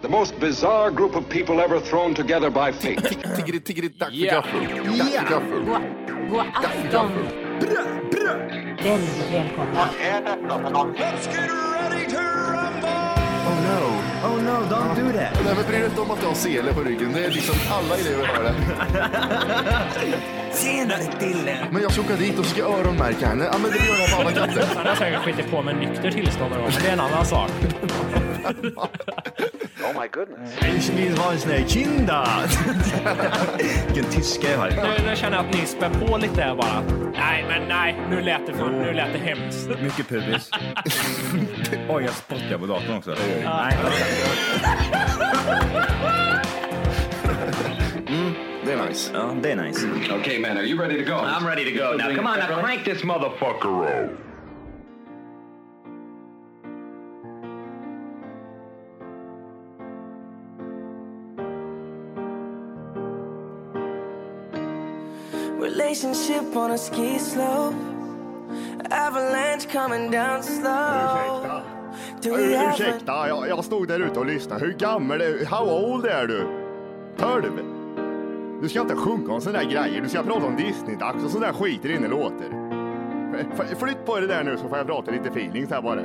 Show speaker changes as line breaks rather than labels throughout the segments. The most bizarre group of people ever thrown together by fate.
Tiggeri, tiggeri, dack för
Ja.
gaffel. Dack för gaffel.
God afton! Väldigt välkomna.
Oh no.
Oh no, don't do that.
Nej, men bryr dig inte om att du har sele på ryggen. Det är liksom alla elever har det.
Senare Dille.
Men jag ska åka dit och ska öronmärka henne. Ja, men det gör jag på alla katter.
Han har säkert skitit på med nykter tillstånd någon gång, men det är en annan sak.
Ich vill ha en sån här kinda. Vilken tyska jag har.
Nu, nu känner jag att ni spär på lite här bara. Nej, men nej. Nu lät det, för, nu lät det hemskt.
Mycket pubis. Oj, jag spottar på datorn också. Nej.
Det är nice.
Ja, det är nice.
okay, man, are you ready to go?
I'm ready to go now. Come on, now crank this motherfucker up.
Relationship on a ski slope. Avalanche coming down slow.
Ursäkta.
Do
Oh,
we have a-
Ursäkta, jag, jag stod där ute och lyssnade. Hur gammal är du? How old är du? 12. Du ska inte sjunga om sådana där grejer. Du ska prata om Disney-dags och sådana där skit i dina låter. F- f- Flytt på det där nu så får jag prata lite feelings här bara.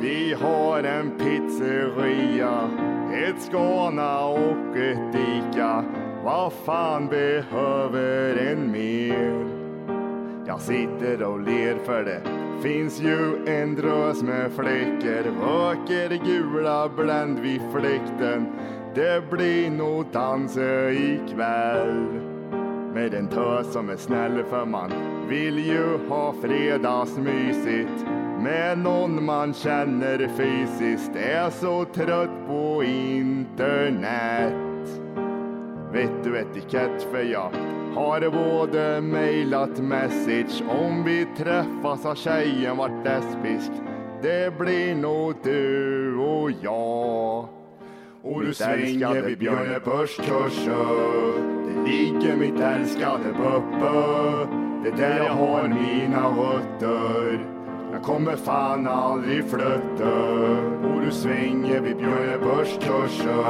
Vi har en pizzeria, ett Skåna och ett Ica. Vad fan behöver en mer? Jag sitter och ler för det finns ju en drös med fläckar. Röker gula bländ vid fläkten. Det blir nog danser ikväll. Med en tös som är snäll för man vill ju ha fredagsmysigt. Med någon man känner fysiskt. Är så trött på internet. Vet du etikett för jag har både mejlat message om vi träffas har tjejen varit lesbisk. Det blir nog du och jag. Och du svänger vid Björne Börskurser. Det ligger mitt älskade Böppö. Det är där jag har mina rötter. Jag kommer fan aldrig flytta. Och du svänger vid Björne Börskurser.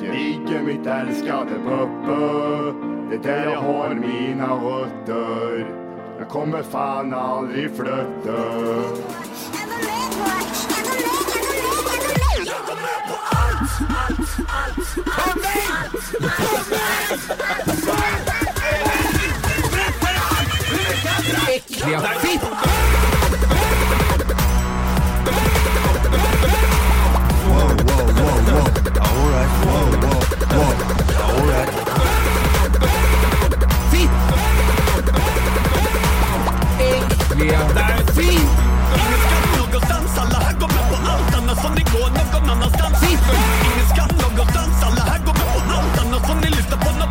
Det ligger mitt älskade Böppö. Det är där jag har mina rötter. Jag kommer fan aldrig flytta.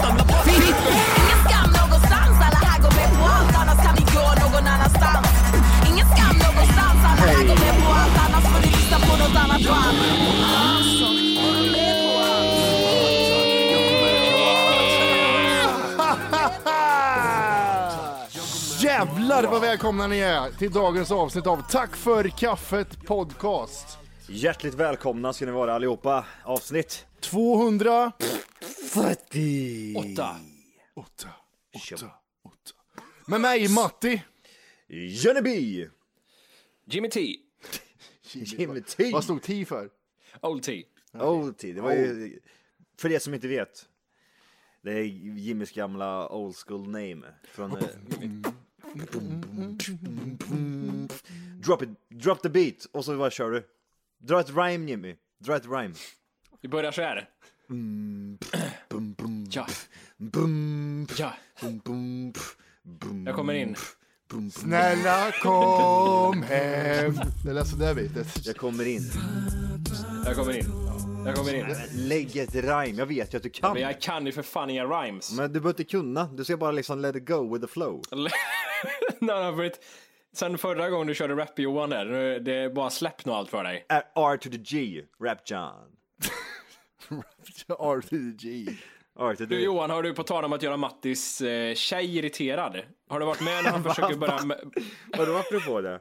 Ingen skam någonstans, alla här går med på allt annars kan ni gå någon annanstans Ingen skam någonstans, alla här går med på allt annars får ni lyssna på något annat band
Jävlar vad välkomna ni är till dagens avsnitt av Tack för kaffet podcast.
Hjärtligt välkomna ska ni vara allihopa. Avsnitt.
200...
40.
Åtta, åtta, åtta. Med mig Matti.
Jöneby.
Jimmy T.
Jimmy T.
Vad stod T för?
Old T.
Old T. Det var ju, för er som inte vet. Det är Jimmys gamla old school name. Från, eh, drop, it, drop the beat och så bara kör du. Dra ett rhyme Jimmy. Dra ett rhyme.
Vi börjar så här. Ja,
Bum,
ja.
bum, bum, pff, bum,
Jag kommer in.
bum, bum.
Snälla kom hem. Det lät sådär bitet.
Jag kommer in.
Jag kommer in. Jag kommer in.
Lägg ett rhyme. Jag vet ju att du kan.
Men jag kan ju för fan inga rhymes.
Men du behöver inte kunna. Du ska bara liksom let it go with the flow.
När han har börjat- Sen förra gången du körde rap-Johan där, nu- det är bara släpp nu allt för dig.
R- R to the G. Rap John.
RPG.
R to the...
Du Johan, har du på tal om att göra Mattis eh, tjej irriterad? Har du varit med när han försöker börja... med-
Vadå apropå det?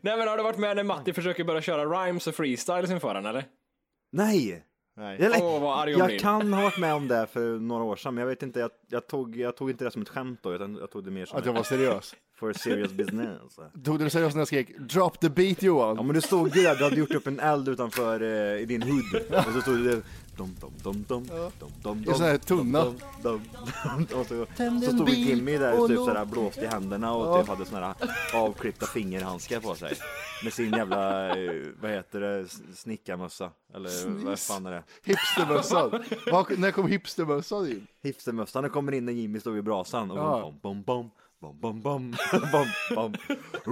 Nej men har du varit med när Matti försöker börja köra rhymes och freestyles inför han eller?
Nej!
Nej.
Eller,
Åh, vad arg hon blir.
jag kan ha varit med om det för några år sedan, men jag vet inte, jag, jag, tog, jag tog inte det som ett skämt då, utan jag tog det mer som
Att jag var
ett-
seriös.
for serious business.
Tog du det seriöst när jag skrek drop the beat Johan?
Ja men du stod ju där, du hade gjort upp en eld utanför eh, i din hood, och så stod det dom dom dom dom dom dom
I sån här tunna.
dom, dom, dom, dom. Och så, så stod Jimmy där och typ såhär blåste i händerna och typ hade såna här avklippta fingerhandskar på sig. Med sin jävla, eh, vad heter det, s- snickarmössa?
eh,
Eller vad fan är det?
Hipstermössan. Var- När kom hipstermössan in?
Hipstermössan kommer in när Jimmy står vid brasan och
Ja.
bom bom bom bom bom bom bom bom.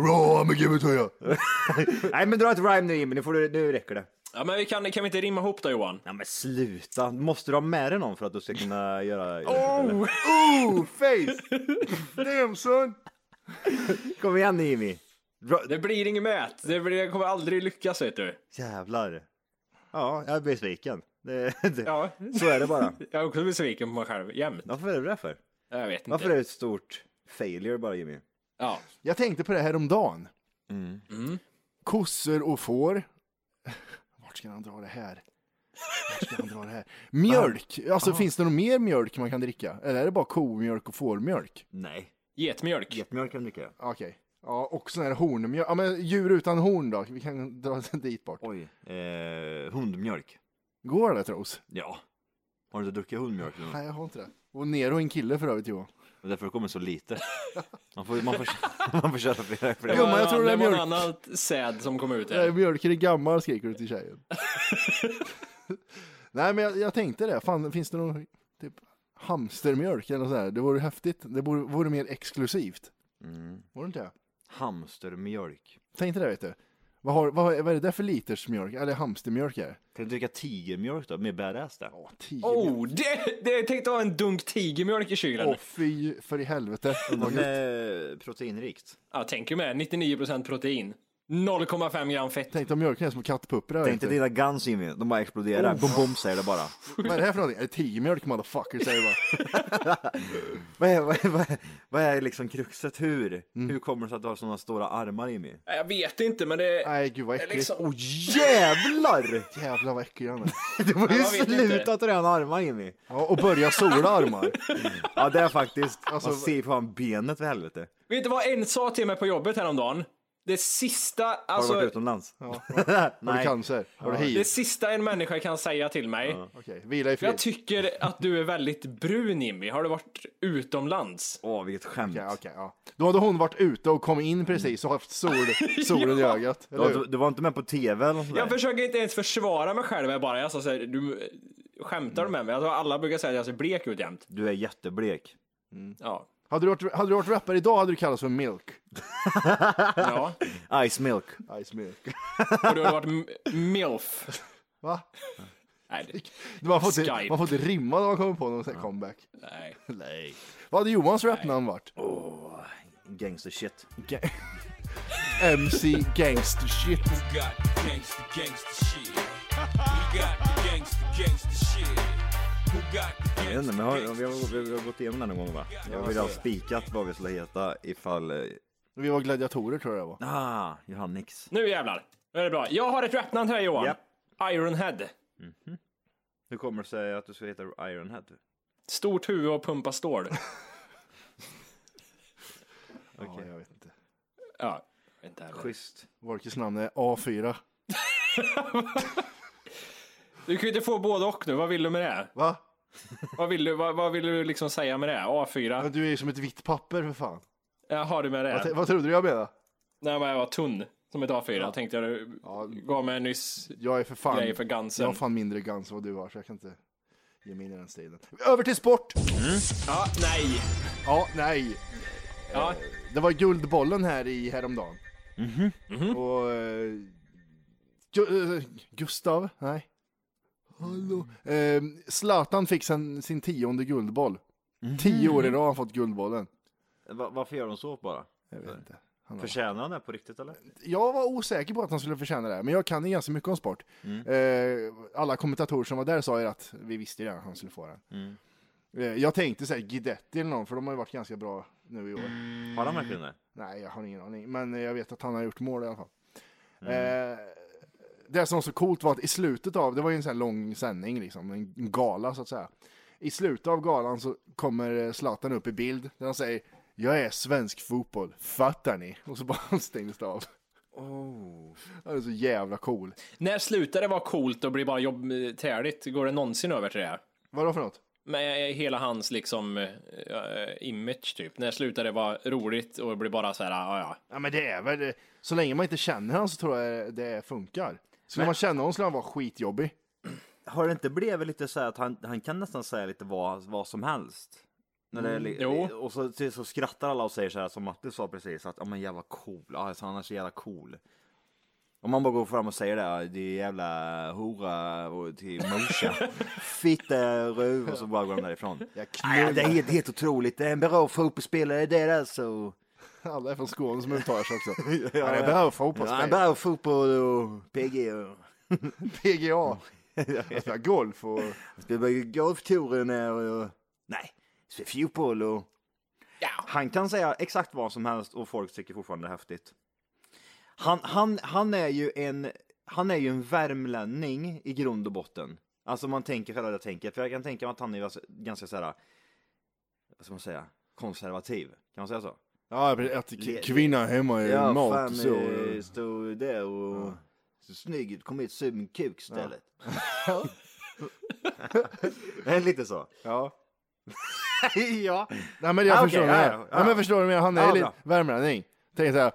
Raw med gubbetröja.
Nej men dra ett rhyme nu Jimmy, nu, får du, nu räcker det.
Ja men vi kan, kan vi inte rimma ihop då Johan?
Ja men sluta, måste du ha med dig någon för att du ska kunna göra eller?
Oh, oh, face. Damn son.
Kom igen nu Jimmy! Dra...
Det blir inget mät. Det, blir, det kommer aldrig lyckas vet du.
Jävlar! Ja, jag är besviken. Det, det...
Ja.
Så är det bara.
Jag är också besviken på mig själv jämt.
Varför är du det för?
Jag vet inte.
Varför är det ett stort failure bara Jimmy?
Ja.
Jag tänkte på det här om dagen.
Mm.
Kossor och får. Vart ska han dra det här? Vart ska han dra det här? Mjölk. Alltså finns det något mer mjölk man kan dricka? Eller är det bara komjölk och fårmjölk? Ah,
Nej.
Getmjölk.
Getmjölk kan du dricka.
Okej. Ja, och sån här hornmjölk. Ja, men djur utan horn då? Vi kan dra dit bort.
Oj. Eh, hundmjölk.
Går det tros?
Ja. Har du inte druckit hundmjölk nu?
Nej, jag har inte det. Och Nero är en kille för övrigt Johan.
Det är därför det kommer så lite. Man får, man får, man får köra flera. flera.
Det
Jo,
var
men jag
en-
tror det är
var en
mjölk.
annan säd som kom ut
Nej,
här.
mjölken är gammal skriker du till tjejen. Nej, men jag, jag tänkte det. Fan, finns det någon typ hamstermjölk eller något sånt här? Det vore häftigt. Det vore, vore mer exklusivt.
Mm.
Vore det inte det?
Hamstermjölk.
Tänkte det, vet du. Vad, har, vad, har- vad är det där för liters mjölk? Eller hamstermjölk är det?
Kan du dricka tigermjölk då? Mer badass där.
Åh, tio mjölk.
Oh, det, det, jag tänkte ha en dunk tigermjölk i kylen.
Åh, fy för i helvete. Vad
Den
gott.
är proteinrikt.
Ja, tänk ju med 99% protein. 0,5 gram fett.
Tänkte om mjölken är som kattpupprar.
Tänk dig dina guns Jimmy, de bara
Oh.
exploderar. Bom, bom säger det bara.
Vad är det här för någonting? Är det tigermjölk motherfucker säger jag bara.
Vad är, vad är, vad är, vad är liksom kruxet? Hur?
Mm.
Hur kommer det sig att du har sådana stora armar Jimmy?
Nej, Jag vet inte, men det...
Nej, gud vad äckligt.
Liksom,
Åh jävlar!
Jävlar vad äcklig han är.
Du får ju
man vet inte.
sluta träna armar Jimmy.
Ja, och börja sola armar.
Ja det är faktiskt,
Alltså,
man ser ju fan benet för helvete.
Vet du vad en sa till mig på jobbet häromdagen? Det sista,
Har du
alltså,
varit utomlands?
Ja, Har du
Nej.
cancer? Har du hiv?
det sista en människa kan säga till mig.
Okej, vila i fred.
Jag tycker att du är väldigt brun Jimmy. Har du varit utomlands?
Åh vilket skämt.
Okej, okej, ja. Då hade hon varit ute och kom in precis och haft sol, solen i ögat.
Du, var
Eller
inte-
hur?
du var inte med på tv eller nåt sånt
Jag
där?
försöker inte ens försvara mig själv. Jag bara, jag sa så här, du skämtar du med mig? Alltså, alla brukar säga att jag ser blek ut jämt.
Du är jätteblek.
Ja.
Hade, du varit, hade du varit rappare idag hade du kallats för Milk.
ja.
Ice milk.
Ice Milk.
Och du har varit m- milf.
Va?
Nej, det-
Man får, inte,
Skype.
man får inte rimma när man kommer på någon sån här comeback.
nej.
Nej. Vad hade Johans rapnamn varit?
Gangster shit.
Ga- MC Gangster Shit.
got gangsta gangsta shit. We got the gangsta gangsta shit. Who got the
Jag vet
gangsta
inte, men har, vi, har, vi har gått igenom den någon gång va? Jag vill ha spikat vad vi skulle heta ifall... eh,
Vi var gladiatorer tror jag det var.
Ah, Johannix.
Nu jävlar. Nu är det bra. Jag har ett rapnamn till dig Johan.
Japp.
Ironhead.
Hur kommer det sig att du ska heta Ironhead?
Stort huvud och pumpa stål.
Ja, jag vet inte.
Ja. Vänta här.
Schysst.
Vorkes namn är A4.
Du kan ju inte få både och nu. Vad vill du med det?
Va?
Vad vill du, vad, vad vill du liksom säga med det?
Men
A4?
Du är ju som ett vitt papper för fan.
Jag har du med
Vad, t-
det?
vad trodde du jag menade?
När jag var tunn som ett A4 tänkte jag du gav mig en nyss
Jag är för fan...
grej för
Jag har
gansen.
fan mindre guns än vad du har, så jag kan inte ge mig in i den stilen. Över till sport!
Ja, nej.
Ja, nej.
Ja.
Det var Guldbollen här i häromdagen. Och... eh, Gu- eh, Gustav? Nej. Hallå. Eh, Zlatan fick sen, sin tionde Guldboll. Tio år i rad har han fått Guldbollen.
Va, varför gör de så bara?
Jag vet inte. Han har...
Förtjänar han det på riktigt eller?
Jag var osäker på att han skulle förtjäna det, här, men jag kan ju ganska mycket om sport. Eh, alla kommentatorer som var där sa ju att vi visste ju redan att han skulle få den. Eh, Jag tänkte säga Guidetti eller någon, för de har ju varit ganska bra nu i år.
Har han verkligen det?
Nej, jag har ingen aning, men eh, jag vet att han har gjort mål i alla fall.
Mm.
Eh, det som var så coolt var att i slutet av, det var ju en sån här lång sändning liksom, en gala så att säga. I slutet av galan så kommer eh, Zlatan upp i bild där han säger Jag är svensk fotboll, fattar ni? Och så bara stängs det av.
Oh.
Han är så jävla cool.
När slutar det vara coolt och blir bara jobbträligt? Går det någonsin över till det här?
Vadå för något?
Med hela hans liksom eh, image typ. När slutar det vara roligt och det blir bara så här, ja ja.
Ja men det är väl, eh, så länge man inte känner han så tror jag eh, det funkar. Skulle man känna honom skulle han vara skitjobbig.
Har det inte blivit lite så här att han, han kan nästan säga lite vad, vad som helst? När det är li-
jo.
Och så, så- så skrattar alla och säger så här som Matte sa precis att ja men jävla cool, alltså, han är så jävla cool. Om man bara går fram och säger det, här, det är jävla hora och till morsa, fitta, ruv och så bara går de därifrån.
Jag
Ja, det är helt, helt otroligt, det är en bra fotbollsspelare det där alltså.
Alla är från Skåne som uttalar sig också.
Ja,
Han är
ja.
bra
Ja, Han är
fotbollsspelare.
bra fotboll och PG och...
PGA. Han spelar golf och...
Spelar ju golftouren och, och... Nej, spelar fotboll och... Han kan säga exakt vad som helst och folk tycker fortfarande det är häftigt. Han, han, han är ju en... Han är ju en värmlänning i grund och botten. Alltså man tänker själva det tänket. För jag kan tänka mig att han är ganska- ganska såhär... Vad ska man säga? Konservativ. Kan man säga så?
Ja, men att k- kvinnan hemma är
Ja,
mat
fan,
och så.
eh, stod där och... Så snygg ut, kom hit sug min kuk istället. Ja. Lite så.
Ja.
ja.
Nej men jag
Ah, okej,
förstår
ja,
det.
ja, ja.
Nej, men jag förstår det. Han är
Ja,
lite
bra.
värmlänning. Tänk så här.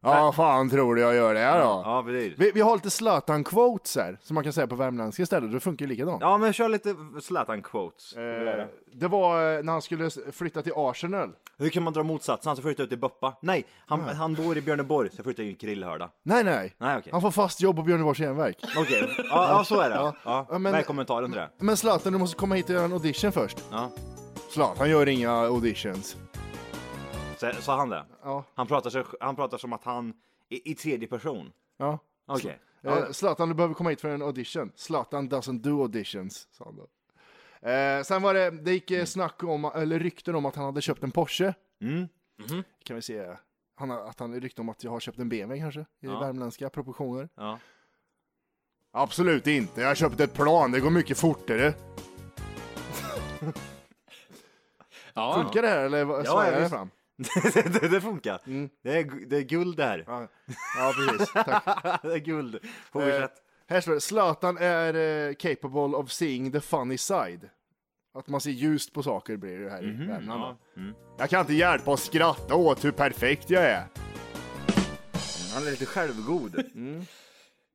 Ja, fan tror du jag gör det här då?
Ja, precis.
Vi, vi har lite Zlatan-quotes här, som man kan säga på värmländska istället. Det funkar ju likadant.
Ja, men kör lite Zlatan-quotes.
Eh, det var eh, när han skulle s- flytta till Arsenal.
Hur kan man dra motsatsen? Han ska flytta ut i Böppa. Nej, han, han bor i Björneborg, så jag flyttar in i Krillhörda.
Nej, nej.
Nej, okej.
Han får fast jobb på Björneborgs Järnverk.
Okej, ja, ja, så är det. Ja.
Ja, men-
Vad är kommentaren till det?
Men Zlatan, du måste komma hit och göra en audition först.
Ja.
Zlatan gör inga auditions.
Sa, sa han det?
Ja.
Han, pratar så, han pratar som att han i, i tredje person.
Ja.
Okej.
Eh, Zlatan, du behöver komma hit för en audition. Zlatan doesn't do auditions, sa han då. Eh, sen var det, det gick eh, snack om, eller rykten om att han hade köpt en Porsche.
Mm.
Kan vi se. eh, Han, har- att han rykte om att jag har köpt en BMW kanske, i värmländska proportioner.
Ja.
Absolut inte, jag har köpt ett plan, det går mycket fortare.
Ja,
Funkar det här eller vad-
Ja,
svajar
ja,
det
visst.
fram?
det, det funkar. Det, är, gu- det är guld det här.
Ja, ja precis. Tack.
det är guld. På
Eh,
eh.
här står det, Zlatan är eh, capable of seeing the funny side. Att man ser ljust på saker blir det här i Värmland. då. Jag kan inte hjälpa att skratta åt hur perfekt jag är.
Han är lite självgod.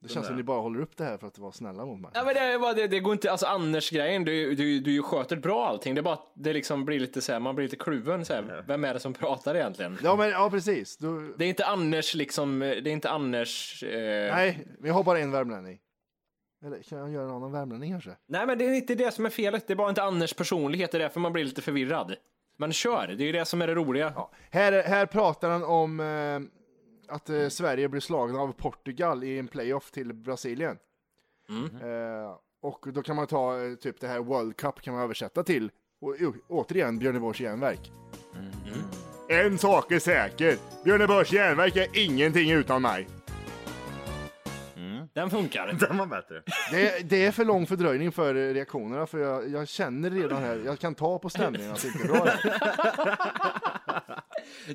Det känns som ni bara håller upp det här för att vara snälla mot mig.
ja men det, är bara, det, det går inte, alltså Anders-grejen, du, du, du sköter bra allting. Det är bara att det liksom blir lite så här, man blir lite kluven så här, vem är det som pratar egentligen?
Ja, men ja, precis. Du,
Det är inte Anders liksom, det är inte Anders... Eh... Nej.
nej, vi har bara en värmlänning. Eller kan jag göra en annan värmlänning kanske?
men det är inte det som är felet, det är bara inte Anders personlighet, det är därför man blir lite förvirrad. Men kör, det är ju det som är det roliga.
Här, här pratar han om eh, att eh, Sverige blir slagna av Portugal i en playoff till Brasilien. Eh, och då kan man ta eh, typ det här World Cup kan man översätta till och, å- återigen Björneborgs järnverk. En sak är säker, Björneborgs järnverk är ingenting utan mig.
Den funkar.
Den var bättre.
Det, det är för lång fördröjning för eh, reaktionerna för jag, jag känner redan här, jag kan ta på stämningen att det inte är bra. här.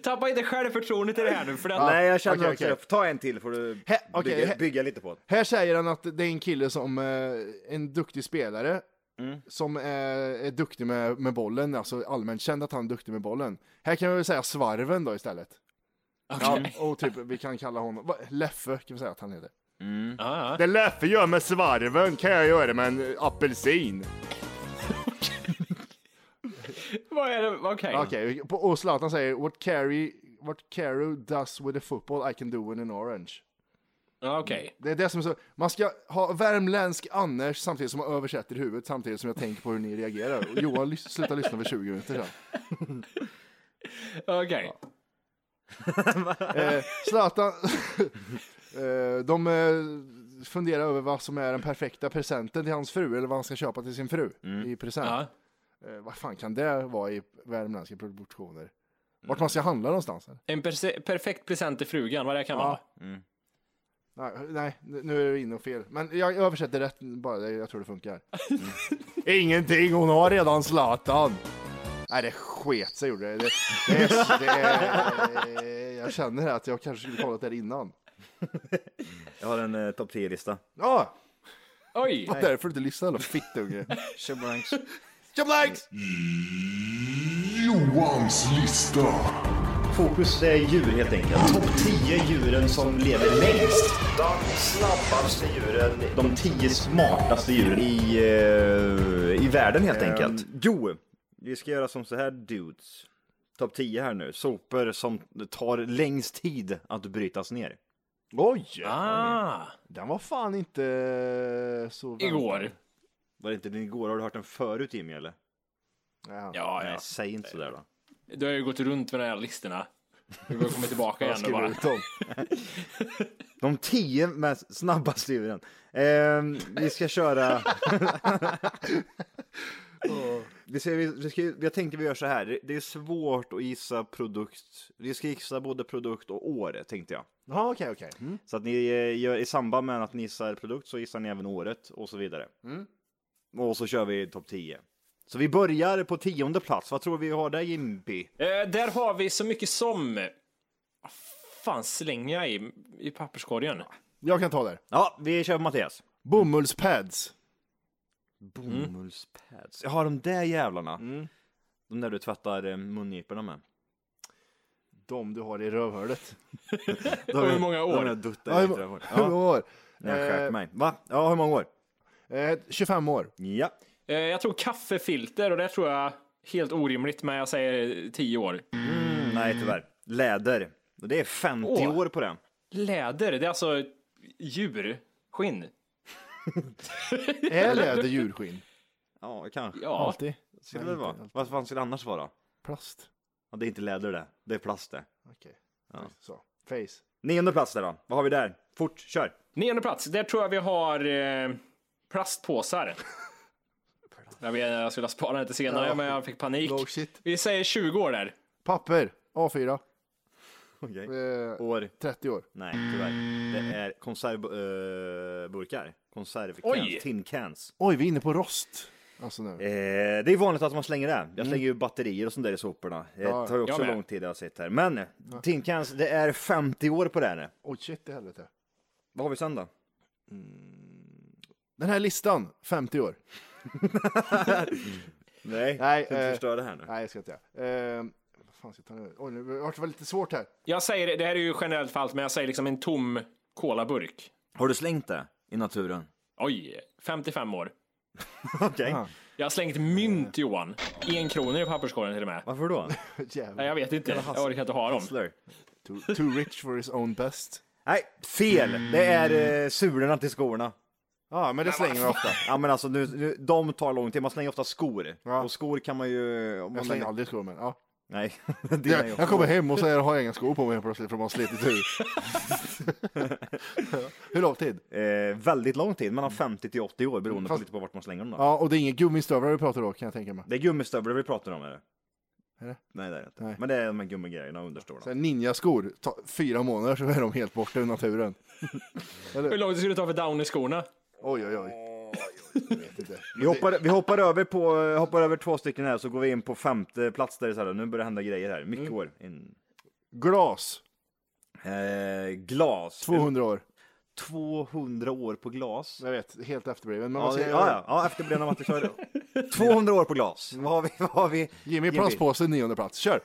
Tappa inte självförtroendet i det här nu, för den...
Nej, jag känner
Okej,
också
okej.
det. Ta en till får du
He- okej,
bygga,
he-
bygga lite på.
Här säger han att det är en kille som, eh, en duktig spelare, som är, är duktig med, med bollen, alltså allmänt känd att han är duktig med bollen. Här kan vi väl säga svarven då istället. Ja, och typ, vi kan kalla honom, va, Leffe kan vi säga att han heter.
Ja, ja.
Det Leffe gör med svarven kan jag göra med en apelsin.
Vad är det? Okej.
Okej, på- och Zlatan säger what Carey, what Caro does with a football I can do with an orange.
Ja, Okej.
Det är det som är så, man ska ha värmländsk Anders samtidigt som man översätter i huvudet samtidigt som jag tänker på hur ni reagerar. Och Johan lys- slutade lyssna för 20 minuter sedan.
Okej.
Eh, Zlatan, eh, de eh, funderar över vad som är den perfekta presenten till hans fru eller vad han ska köpa till sin fru i present.
Ja.
Eh, vad fan kan det vara i värmländska produktioner? Vart man ska handla någonstans? eller?
En perse- perfekt present till frugan, vad det kan vara.
Nej, nej, nu är du inne och fel. Men jag översätter rätt bara, det- jag tror det funkar. Ingenting, hon har redan Zlatan. Nej, det sket sig gjorde det. det, det, är- det är- jag känner att jag kanske skulle kollat det här innan.
Jag har en eh, topp 10-lista.
Ja,
Oj!
det var Ah, därför du inte lyssnade eller fittunge.
Sheblanks.
Jablanks!
Fokus är djur helt enkelt. Topp 10 djuren som lever längst. De snabbaste djuren. De 10 smartaste djuren i...
eh, i världen helt
Ehm,
enkelt. Jo, vi ska göra som så här dudes. Topp 10 här nu. Sopor som tar längst tid att brytas ner.
Oj!
Ah,
Den var fan inte så... väntad.
igår.
Var det inte den igår? Har du hört den förut Jimmy eller?
Ja.
Ja,
Nej,
ja.
säg inte sådär då.
Du har ju gått runt med de här listorna. Du har kommit tillbaka igen nu
Skriv
bara.
ut dem.
De 10 mest snabbaste djuren. Ehm, vi ska köra... vi ska, vi, vi ska, jag tänkte vi gör så här. Det- Det är svårt att gissa produkt. Vi ska gissa både produkt och år tänkte jag.
Ja, okej, okej. Mm.
Så att ni eh, gör i samband med att ni gissar produkt så gissar ni även året och så vidare.
Mm.
Och så kör vi topp 10. Så vi börjar på tionde plats. Vad tror vi har där Jimby?
Eh, där har vi så mycket som... Vad fan slänger jag i, i papperskorgen?
Jag kan ta det.
Ja, vi kör på Mattias.
Bomullspads.
Bomullspads. Jag har de där jävlarna. De där du tvättar eh, mungiporna med.
De du har i rövhålet.
De
hur många år?
De duttar
Ja,
ja,
hur
hur
må-
många
hur
år?
många år?
Ja, jag skärper
Eh,
mig. Va? Ja, hur många år?
Eh, 25 år.
Ja.
Eh, jag tror kaffefilter och det tror jag helt orimligt, men jag säger 10 år.
Mm, nej, tyvärr. Läder. Det är 50
Åh.
år på den.
Läder, det är alltså djur. Skinn.
Är läder djurskinn?
Ja, kanske.
Ja.
Alltid.
Skulle det
inte
vara.
alltid.
Vad fan skulle det annars vara?
Plast.
Ja, det är inte läder det. Det är plast det.
Okej. Så. Face.
Nionde plats där då. Vad har vi där? Fort, kör!
Nionde plats, där tror jag vi har eh, plastpåsar. Jag, vet, jag skulle ha sparat den till senare, men jag fick panik.
No shit.
Vi säger 20 år där.
Papper. A4.
Okej.
Eh,
År?
30 år.
Nej, tyvärr. Det är konservburkar. Konservcans.
Oj!
Tin cans.
Oj, vi är inne på rost. Alltså nu.
Eh, det är vanligt att man slänger det. Jag slänger ju batterier och sånt där i soporna.
Mm. Ja,
Det tar ju också
jag med.
lång tid att sitta här. Men tin cans, det är 50 år på det här nu.
Oj, shit i helvete.
Vad har vi sen då?
Den här listan, 50 år. Nej,
Nej, ska inte
eh,
förstöra det här nu.
Nej, jag ska inte göra. Eh, vad fan ska jag ta nu? Oj, nu vart det väl lite svårt här.
Jag säger, det här är ju generellt för allt, men jag säger liksom en tom kolaburk.
Har du slängt det i naturen?
Oj, 55 år.
Okej.
Jag har slängt mynt
Eh.
Johan. En krona i papperskorgen till och med.
Varför då?
Nej,
Jävlar.
jag vet inte, jag orkar inte ha dem.
Slur.
Too, too rich for his own best.
Nej, fel! Det är eh, sulorna till skorna.
Ja, men det slänger man ofta.
Ja men alltså nu, nu, de tar lång tid, man slänger ofta skor.
Ja.
Och skor kan man ju... Om man
Jag slänger aldrig skor, men ja.
Nej. Dina är
Mm. Jag,
ju-
jag kommer hem och så har jag inga skor på mig helt plötsligt för de har slitit ur. Hur lång tid?
eh, väldigt lång tid, mellan 50 till 80 år beroende
Fast-
på lite på vart man slänger dem då.
Ja, och det är inga gummistövlar vi pratar då kan jag tänka mig.
Det är gummistövlar vi pratar om är det?
Är det?
Nej det är det inte.
Nej.
Men det är de här gummigrejerna understår
Sen ninjaskor, ta, fyra månader så är de helt borta ur naturen.
Hur lång tid skulle det ta för down i skorna?
Oj, oj, oj. Jag vet inte.
vi hoppar, vi hoppar, över på, hoppar över två stycken här så går vi in på femte plats där istället. Nu börjar det hända grejer här. Mycket år. In.
Glas,
Eh, glas.
200 år.
200 år på glas.
Jag vet, helt efterbliven. Men
Ja,
vad
det,
säger
ja,
jag?
ja, ja efterbliven av att du sa det. 200 år på glas. Vad har vi? Vad har vi?
Jimmy, plastpåse, nionde plats. Kör!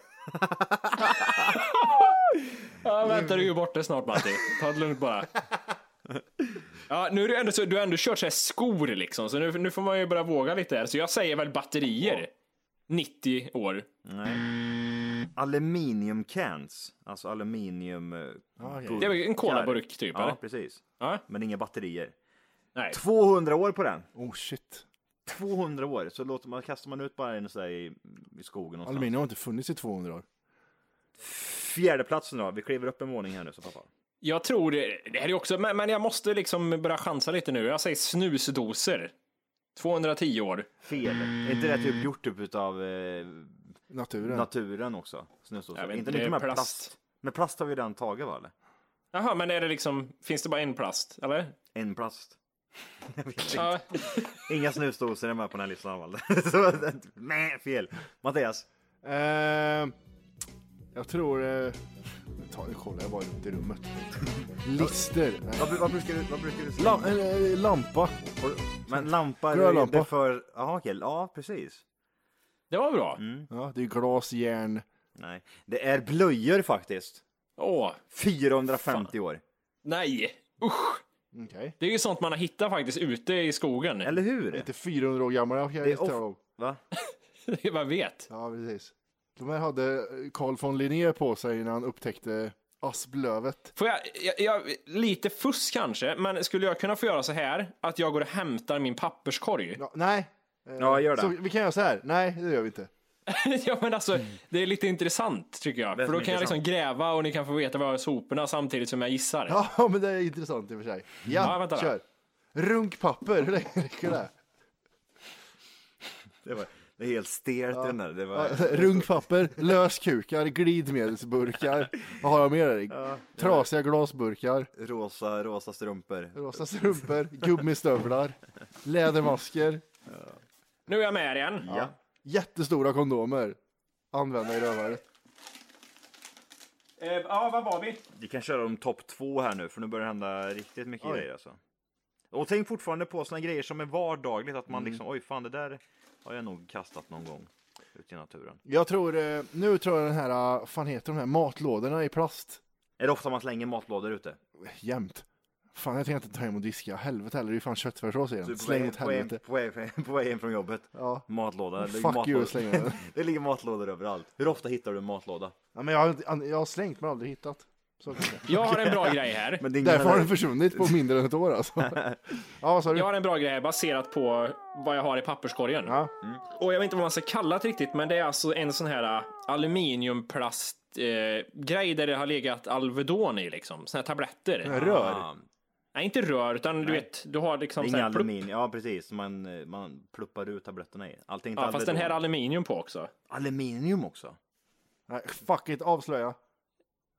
Ja, vänta, du är ju borta snart Matti. Ta det lugnt bara. Ja, nu är du ändå så, du har ändå kört så här skor liksom, så nu, nu får man ju börja våga lite här. Så jag säger väl batterier. 90 år.
Aluminiumcans. Alltså aluminium... eh, burkar.
Det är väl en colaburk typ,
Ja,
eller?
precis.
Ja.
Men inga batterier.
Nej.
200 år på den.
Oh shit.
200 år, så låter man, kastar man ut bara en så här i, i skogen någonstans.
Aluminium har inte funnits i 200 år.
Fjärdeplatsen då, vi kliver upp en våning här nu så pappa.
Jag tror, det här är ju också, men, men jag måste liksom börja chansa lite nu. Jag säger snusdoser. 210 år.
Fel. Är inte det typ gjort typ utav eh,
Naturen.
naturen också? Snusdosor.
Jag vet
Inte
inte,
mycket med
det är
plast.
plast.
Men plast har vi redan tagit va? Eller?
Jaha, men är det liksom, finns det bara en plast, eller?
En plast. Jag vet inte.
Ja,
Inga snusdosor är med på den här listan. va? Så, nej, fel. Mattias.
Eh, jag tror... Eh, ta, nu kollar jag bara runt i rummet. Lister. Nej.
Vad, bru- vad brukar du, vad brukar du säga?
Lam, eh, lampa.
Har du- Men lampa,
Grön
det-
lampa.
det är för... Jaha, okej. Ja, precis.
det var bra.
Mm.
Ja, det är glas, järn.
Nej. Det är blöjor faktiskt.
Åh,
450 år.
nej. Usch.
Okej.
Det är ju sånt man har hittat faktiskt ute i skogen.
Eller hur?
Inte 400 år gamla. Okay,
Det
det
är of- Va?
Det man vet.
Ja, precis. De här hade eh, Carl von Linné på sig innan han upptäckte asplövet.
Får jag, jag, jag, lite fusk kanske, men skulle jag kunna få göra så här att jag går och hämtar min papperskorg?
Ja, nej.
Ja, gör
Så
det.
vi kan göra så här. Nej, det gör vi inte.
ja men alltså, det är lite intressant tycker jag.
Det är
För då
som
kan jag
intressant.
liksom gräva och ni kan få veta vad jag har i soporna samtidigt som jag gissar.
Ja, men det är intressant i och för sig.
Ja,
Ja,
vänta då.
kör. Runkpapper, hur länge räcker det?
Det, var, det är helt stelt den där. Det
Ja,
var,
Runkpapper, löskukar, glidmedelsburkar. Vad har jag mer? Trasiga glasburkar,
rosa, rosa strumpor.
rosa strumpor, gummistövlar, lädermasker,
Nu är jag med er igen.
Ja.
jättestora kondomer. Använda i rövhålet.
Eh, ja, vad var vi?
Vi kan köra om topp två här nu, för nu börjar det hända riktigt mycket
Oj.
grejer alltså. Och tänk fortfarande på såna grejer som är vardagligt, att man liksom, oj fan det där har jag nog kastat någon gång ute i naturen.
Jag tror, eh, nu tror jag den här, eh, fan heter de här matlådorna i plast?
Är det ofta man slänger matlådor ute?
Jämt. Fan jag tänkte inte ta hem och diska, helvete heller, det är ju fan köttfärssås i den.
Typ på väg-
Släng åt
på väg-
helvete.
På väg- på väg- på väg hem från jobbet.
Ja.
Matlåda. det ligger
Fuck you,
matlådor-
släng den.
det ligger matlådor överallt. Hur ofta hittar du en matlåda?
Ja, men jag, har inte- jag har slängt men aldrig hittat. Så kan jag säga.
Jag har en bra grej här.
Men det är ingen
Därför har den
annan-
försvunnit på mindre än ett år alltså. Ja, vad sa du?
Jag har en bra grej här baserat på vad jag har i papperskorgen. Mm.
Ja.
Och jag vet inte vad man ska kalla det riktigt, men det är alltså en sån här ä, aluminiumplast eh, grej där det har legat Alvedon i liksom. Såna här tabletter.
Rör?
Ah,
Nej, inte rör, utan du vet, du har
det
liksom
är
så
inga
här plupp.
aluminium. Ja precis, man, eh, man pluppar ut tabletterna i. Allt är inte
Ja, fast den här är
Alvedon.
aluminium på också.
aluminium också.
Nej, fuck it, avslöja.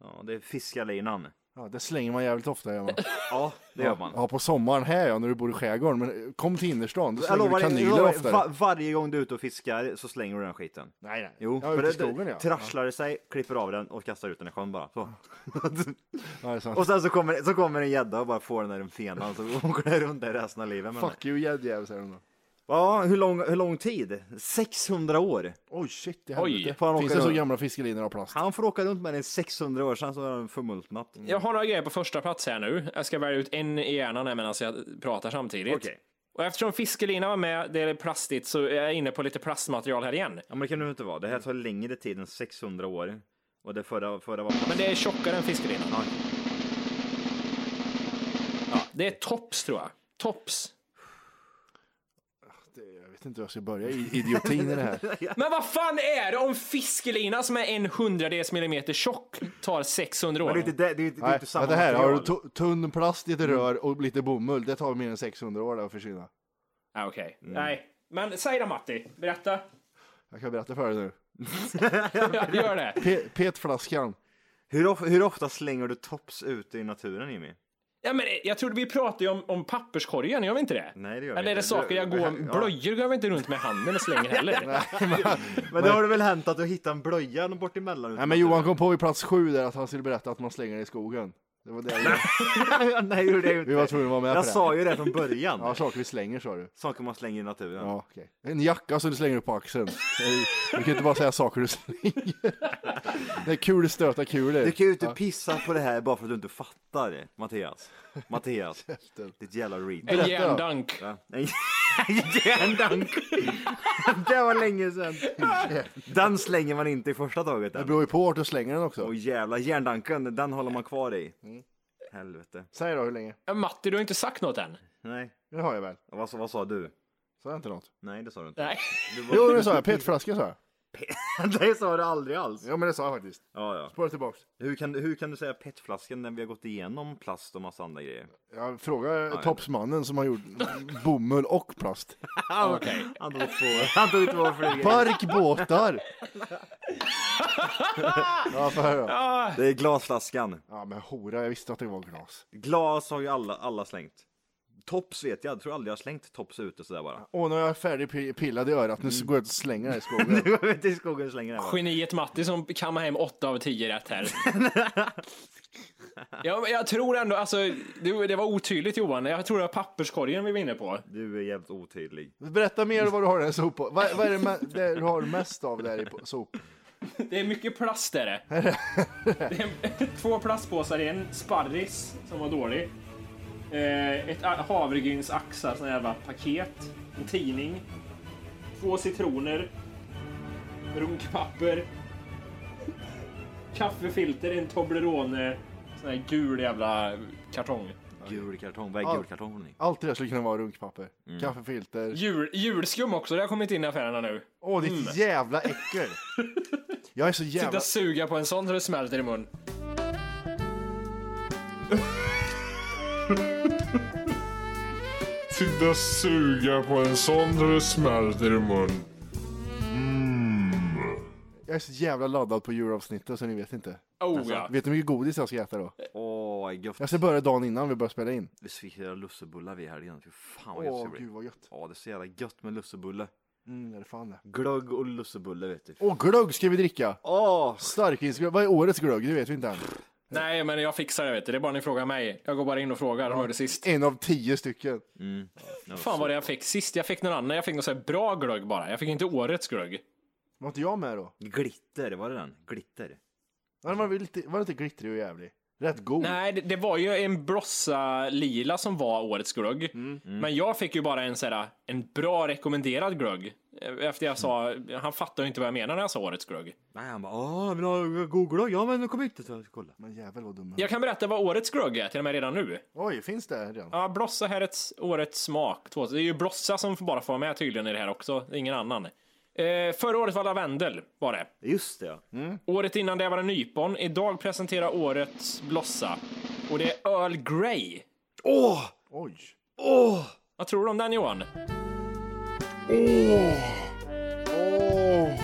Ja, det är fiskalinan.
Ja, det slänger man jävligt ofta gör man.
Ja, det gör man.
Ja, på sommaren här ja, när du bor i skärgården. Men eh, kom till innerstan, då
Jag
slänger
lovar
du
dig,
kanyler
jag lovar dig,
oftare.
va- varje gång du är ute och fiskar så slänger du den skiten.
Nej, nej.
Jo,
ja,
för
ute i
det,
skogen ja.
trasslar det sig, klipper av den och kastar ut den i sjön bara. Så.
ja det är sant.
och sen så kommer, så kommer en gädda och bara får den där en fenan så åker den runt där resten av livet. Men,
Fuck you gäddjävel säger de då.
ja, hur lång, hur lång tid? 600 år.
Oj shit i
Oj.
helvete.
Fan,
Finns
åker
det så
du-
gamla fiskelinor av plast?
Han får åka runt med den i 600 år, sen så är den förmultnat.
Jag har några grejer på första plats här nu. Jag ska välja ut en i hjärnan här medan jag pratar samtidigt.
Okej.
Och eftersom fiskelina var med, det är plastigt, så är jag inne på lite plastmaterial här igen.
Ja men det kan det inte vara, det här tar längre tid än 600 år. Och det förra, förra var...
Men det är tjockare än fiskelina.
Ja.
Ja, det är tops tror jag. Tops.
Det- Jag vet inte hur jag ska börja. I- Idiotin i det här.
Men vad fan är det om fiskelina som är en hundradels millimeter tjock tar 600
Men det är
år?
inte, det, det, är inte- det är
Nej,
inte samma
vänta här. Har
material. Mm.
du to- tunn plast i ett rör och lite bomull. Det tar mer än 600 år där att försvinna.
Ah, Okej.
Mm.
Nej. Men säg då Matti, berätta.
Jag kan berätta för dig nu.
Ja, Gör det.
Pe- petflaskan.
Hur, of, hur ofta slänger du tops ute i naturen Jimmy?
Ja, men jag trodde vi pratade ju om, om papperskorgen, gör vi inte det?
Nej, det gör vi
Eller är det
inte.
saker jag
Du-
går,
ja.
blöjor går jag väl inte runt med handen och slänger heller?
Men det har det väl hänt att du hittar en blöja bort emellan? ute i
Nej men Johan kom på vid plats sju där att han skulle berätta att man slänger det i skogen. Det var det jag gjorde.
naturen? Nej, det gjorde jag inte.
Vi var tvungna att vara med på
jag
det.
sa ju det från början.
Ja, saker vi slänger sa du.
Saker man slänger i naturen.
Ja, okej. En jacka som du slänger upp på axeln. Nej, Du kan inte bara säga saker du slänger. Det är kul stöta kulor.
Du kan ju inte pissa på det här bara för att du inte fattar, Mattias. Mattias, ditt jävla read.
En järndunk.
En järndunk! det var länge sedan. Den slänger man inte i första taget
Det
än.
beror ju på vart du slänger den också.
Och jävla järndanken, den håller man kvar i. Helvete.
Säg då hur länge.
Ja, Matti, du har inte sagt något än.
Nej,
Det har jag väl.
vad, sa- vad sa du?
Sa jag inte något?
Nej, det sa du inte.
Nej.
Jo, det sa jag. Petflaska sa jag.
det sa du aldrig alls.
Ja, men det sa jag faktiskt.
Ja, ja.
Spåra tillbaks.
Hur kan, hur kan du säga petflaskan när vi har gått igenom plast och massa andra grejer?
Jag frågar topsmannen som har gjort bomull och plast.
Okej. Han tog två, han tog två flugor.
Barkbåtar! ja, får höra.
Det är glasflaskan.
Ja, men hora, jag visste att det var glas.
Glas har ju alla, alla slängt. Tops vet jag, jag tror aldrig jag har slängt tops ute sådär bara.
Åh, nu är jag färdigpillad i örat. Nu
Mm.
går jag ut och slänger det i skogen.
Nu går vi till skogen och slänger det här bara.
Geniet Matti som kammar hem 8 av 10 rätt här. jag, jag tror ändå, alltså, det, det var otydligt Johan. Jag tror det var papperskorgen vi var inne på.
Du är jävligt otydlig.
Berätta mer vad du har den sopa. Vad, vad är det, me- det du har mest av där i po- sop?
Det är mycket plast är det. det är två plastpåsar i en sparris som var dålig. Eh, ett a- havregryns axar, sån här jävla paket. En tidning. Två citroner. Runkpapper. Kaffefilter, en Toblerone. Sån här gul jävla kartong.
Gul kartong, vad är
Ja.
gul kartong?
Allt det där skulle kunna vara runkpapper.
Mm.
Kaffefilter.
Jul, julskum också, det har kommit in i affärerna nu.
Åh, ditt jävla äckel! Jag är så
Sitta
jävla...
och suga på en sån så det smälter i mun.
Sitta och suga på en sån så det smälter i mun.
Jag är så jävla laddad på julavsnittet så ni vet inte.
Oh, ja.
Vet ni hur mycket godis jag ska äta då?
Åh, vad gött.
Jag ska börja dagen innan vi börjar spela in.
Vi fick göra lussebullar vi i helgen. Fy fan vad gött
Åh, gud
det blir.
vad gött.
Ja, det är så jävla gött med lussebulle.
Mm, det är fan det.
Glögg och lussebulle vet du.
Åh, glögg ska vi dricka!
Åh!
Starkinsglögg. Vad är årets glögg? Det vet vi inte än.
Nej, men jag fixar det vet du. Det är bara ni frågar mig. Jag går bara in och frågar. Hörde sist.
En av tio stycken.
Fan vad det jag fick sist. Jag fick någon annan. Jag fick någon så här bra glögg bara. Jag fick inte årets glögg.
Var inte jag med då?
Glitter, var det den? Glitter.
Ja, den Var väl lite, var lite glittrig och jävlig? Rätt god.
Nej, det, det var ju en brossa lila som var årets glögg. Men jag fick ju bara en så här, en bra rekommenderad glögg. Efter jag sa, han fattar ju inte vad jag menar när jag sa årets glögg.
Nej, han bara åh, jag vill ha god glögg. Ja, men kom hit och ta- kolla.
Men jävel vad dum
Jag kan berätta vad årets glögg är till och med redan nu.
Oj, finns det redan?
Ja, Blossa här ett årets smak. Två- Det är ju Blossa som bara får vara med tydligen i det här också, ingen annan. Eh, förra året var lavendel, var det.
Just det ja. Mm.
Året innan det var en nypon. Idag presenterar årets Blossa. Och det är Earl Grey.
Åh!
Oj.
Åh!
Vad tror du om den Johan?
Åh!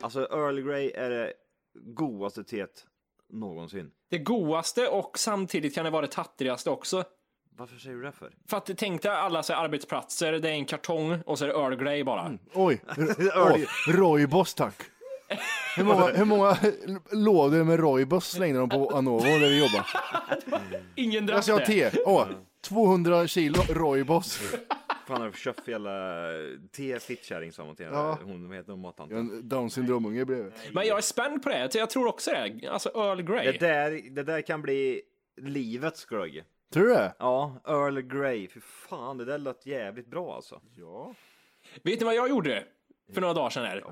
Alltså Earl Grey är det godaste teet någonsin.
Det godaste och samtidigt kan det vara det tattrigaste också.
Varför säger du det för?
För att tänk dig alla så här arbetsplatser, det är en kartong och så är det Earl Grey bara.
Mm. Oj! Åh, Roibos tack! Hur många, hur många lådor med Roibos slängde de på Anovo där vi jobbade? Alltså,
Ingen
Jag
drack
ska ha
det.
te! Åh, 200 kilo Roibos!
Fan har du köpt eh, för jävla te fittkärring sa hon till
Ja.
ja. hon vad heter hon, mattanten.
En down syndromunge bredvid.
Men jag är spänd på det, jag tror också det. Alltså Earl Grey.
Det där, det där kan bli livets glögg.
Tror du det?
Ja, Earl Grey. Fy fan, det där lät jävligt bra alltså.
Vet ni vad jag gjorde för några dagar sedan här?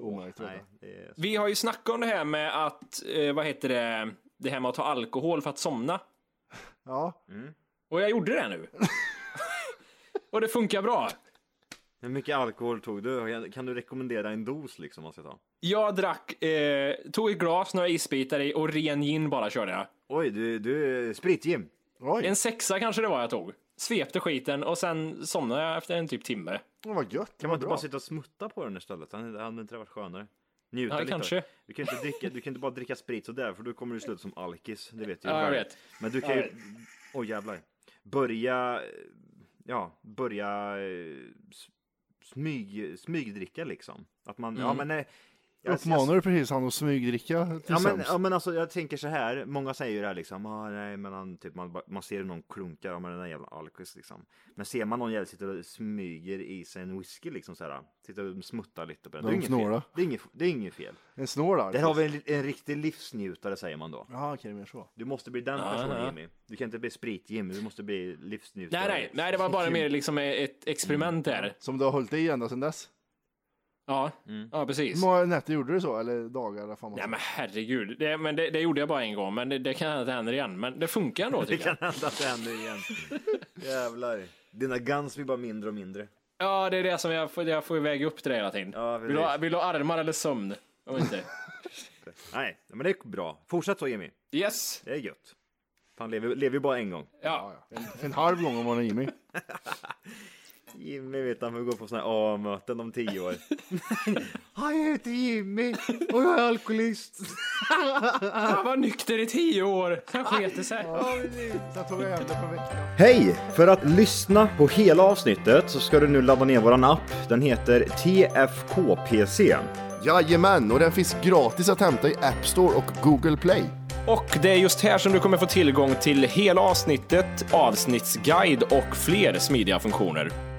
Omärkt
Nej,
redan.
det är...
Vi har ju snackat om det här med att, eh, vad heter det, det här med att ta alkohol för att somna.
Ja.
Och jag gjorde det nu. Och det funkar bra.
Hur mycket alkohol tog du? Kan du rekommendera en dos liksom? Man ska ta?
Jag drack, eh, tog ett glas, några isbitar i och ren gin bara körde jag.
Oj, du, du är spritgym.
Oj,
En sexa kanske det var jag tog. Svepte skiten och sen somnade jag efter en typ timme.
vad gött.
Kan man inte
bra.
bara sitta och smutta på den istället? Han hade inte det varit skönare? Njuta
Ja,
lite av det.
kanske.
Du kan, inte dricka, du kan inte bara dricka sprit sådär för då kommer du sluta som alkis. Det vet du ju
Ja, jag
själv.
vet.
Men du kan ju... Oj jävlar. Börja... eh, Ja, börja eh, s- smyg, smygdricka liksom. Att man... Ja
Mm.
men nej. jag-
Uppmanar du precis han att smygdricka till
Ja men,
sams?
ja men alltså jag tänker så här, många säger ju det här liksom, ah, nej men han, typ, man, bara- man ser någon klunkar, ja men den där jävla alkis liksom. Men ser man någon jävla sitta och smyger i sig en whisky liksom så här, sitta och smutta lite på den. Det är
De
inget
snåla.
fel. Det är inget, det är inget fel.
En snål alkis.
Där har vi en, li- en riktig livsnjutare säger man då.
Jaha, okej, det är mer så.
Du måste bli den
Ja,
personen
ja.
Jimmy. Du kan inte bli sprit-Jimmy, du måste bli livsnjutare.
Nej, nej, nej, det var bara mer liksom ett experiment där.
Som du har hållit i ända sedan dess?
Ja, ja
Hur
precis.
Mm.
många nätter gjorde du så? Eller dagar? Eller fan vad
Nej men herregud, det, men det, det gjorde jag bara en gång, men det, det kan hända att det händer igen. Men det funkar ändå
Det
tycker jag.
kan hända att det händer igen. Jävlar. Dina guns blir bara mindre och mindre.
Ja, det är det som jag får, jag får väga upp det där hela tiden.
precis.
vill, du ha, vill du ha armar eller sömn? Om inte.
Nej, men det är bra. Fortsätt så Jimmy.
Yes.
Det är gött. Fan, lever lever ju bara en gång.
Ja.
En halv gång om man är Jimmy.
Jimmy vet han får gå på sådana här A-möten om tio år.
Han heter Jimmy och jag är alkoholist.
Han var Ah, nykter i tio år, sen sket det sig.
Jag tog hem det på veckan.
Hej! För att lyssna på hela avsnittet så ska du nu ladda ner våran app. Den heter TFKPC.
Jajamän, och den finns gratis att hämta i App Store och Google Play.
Och det är just här som du kommer få tillgång till hela avsnittet, avsnittsguide och fler smidiga funktioner.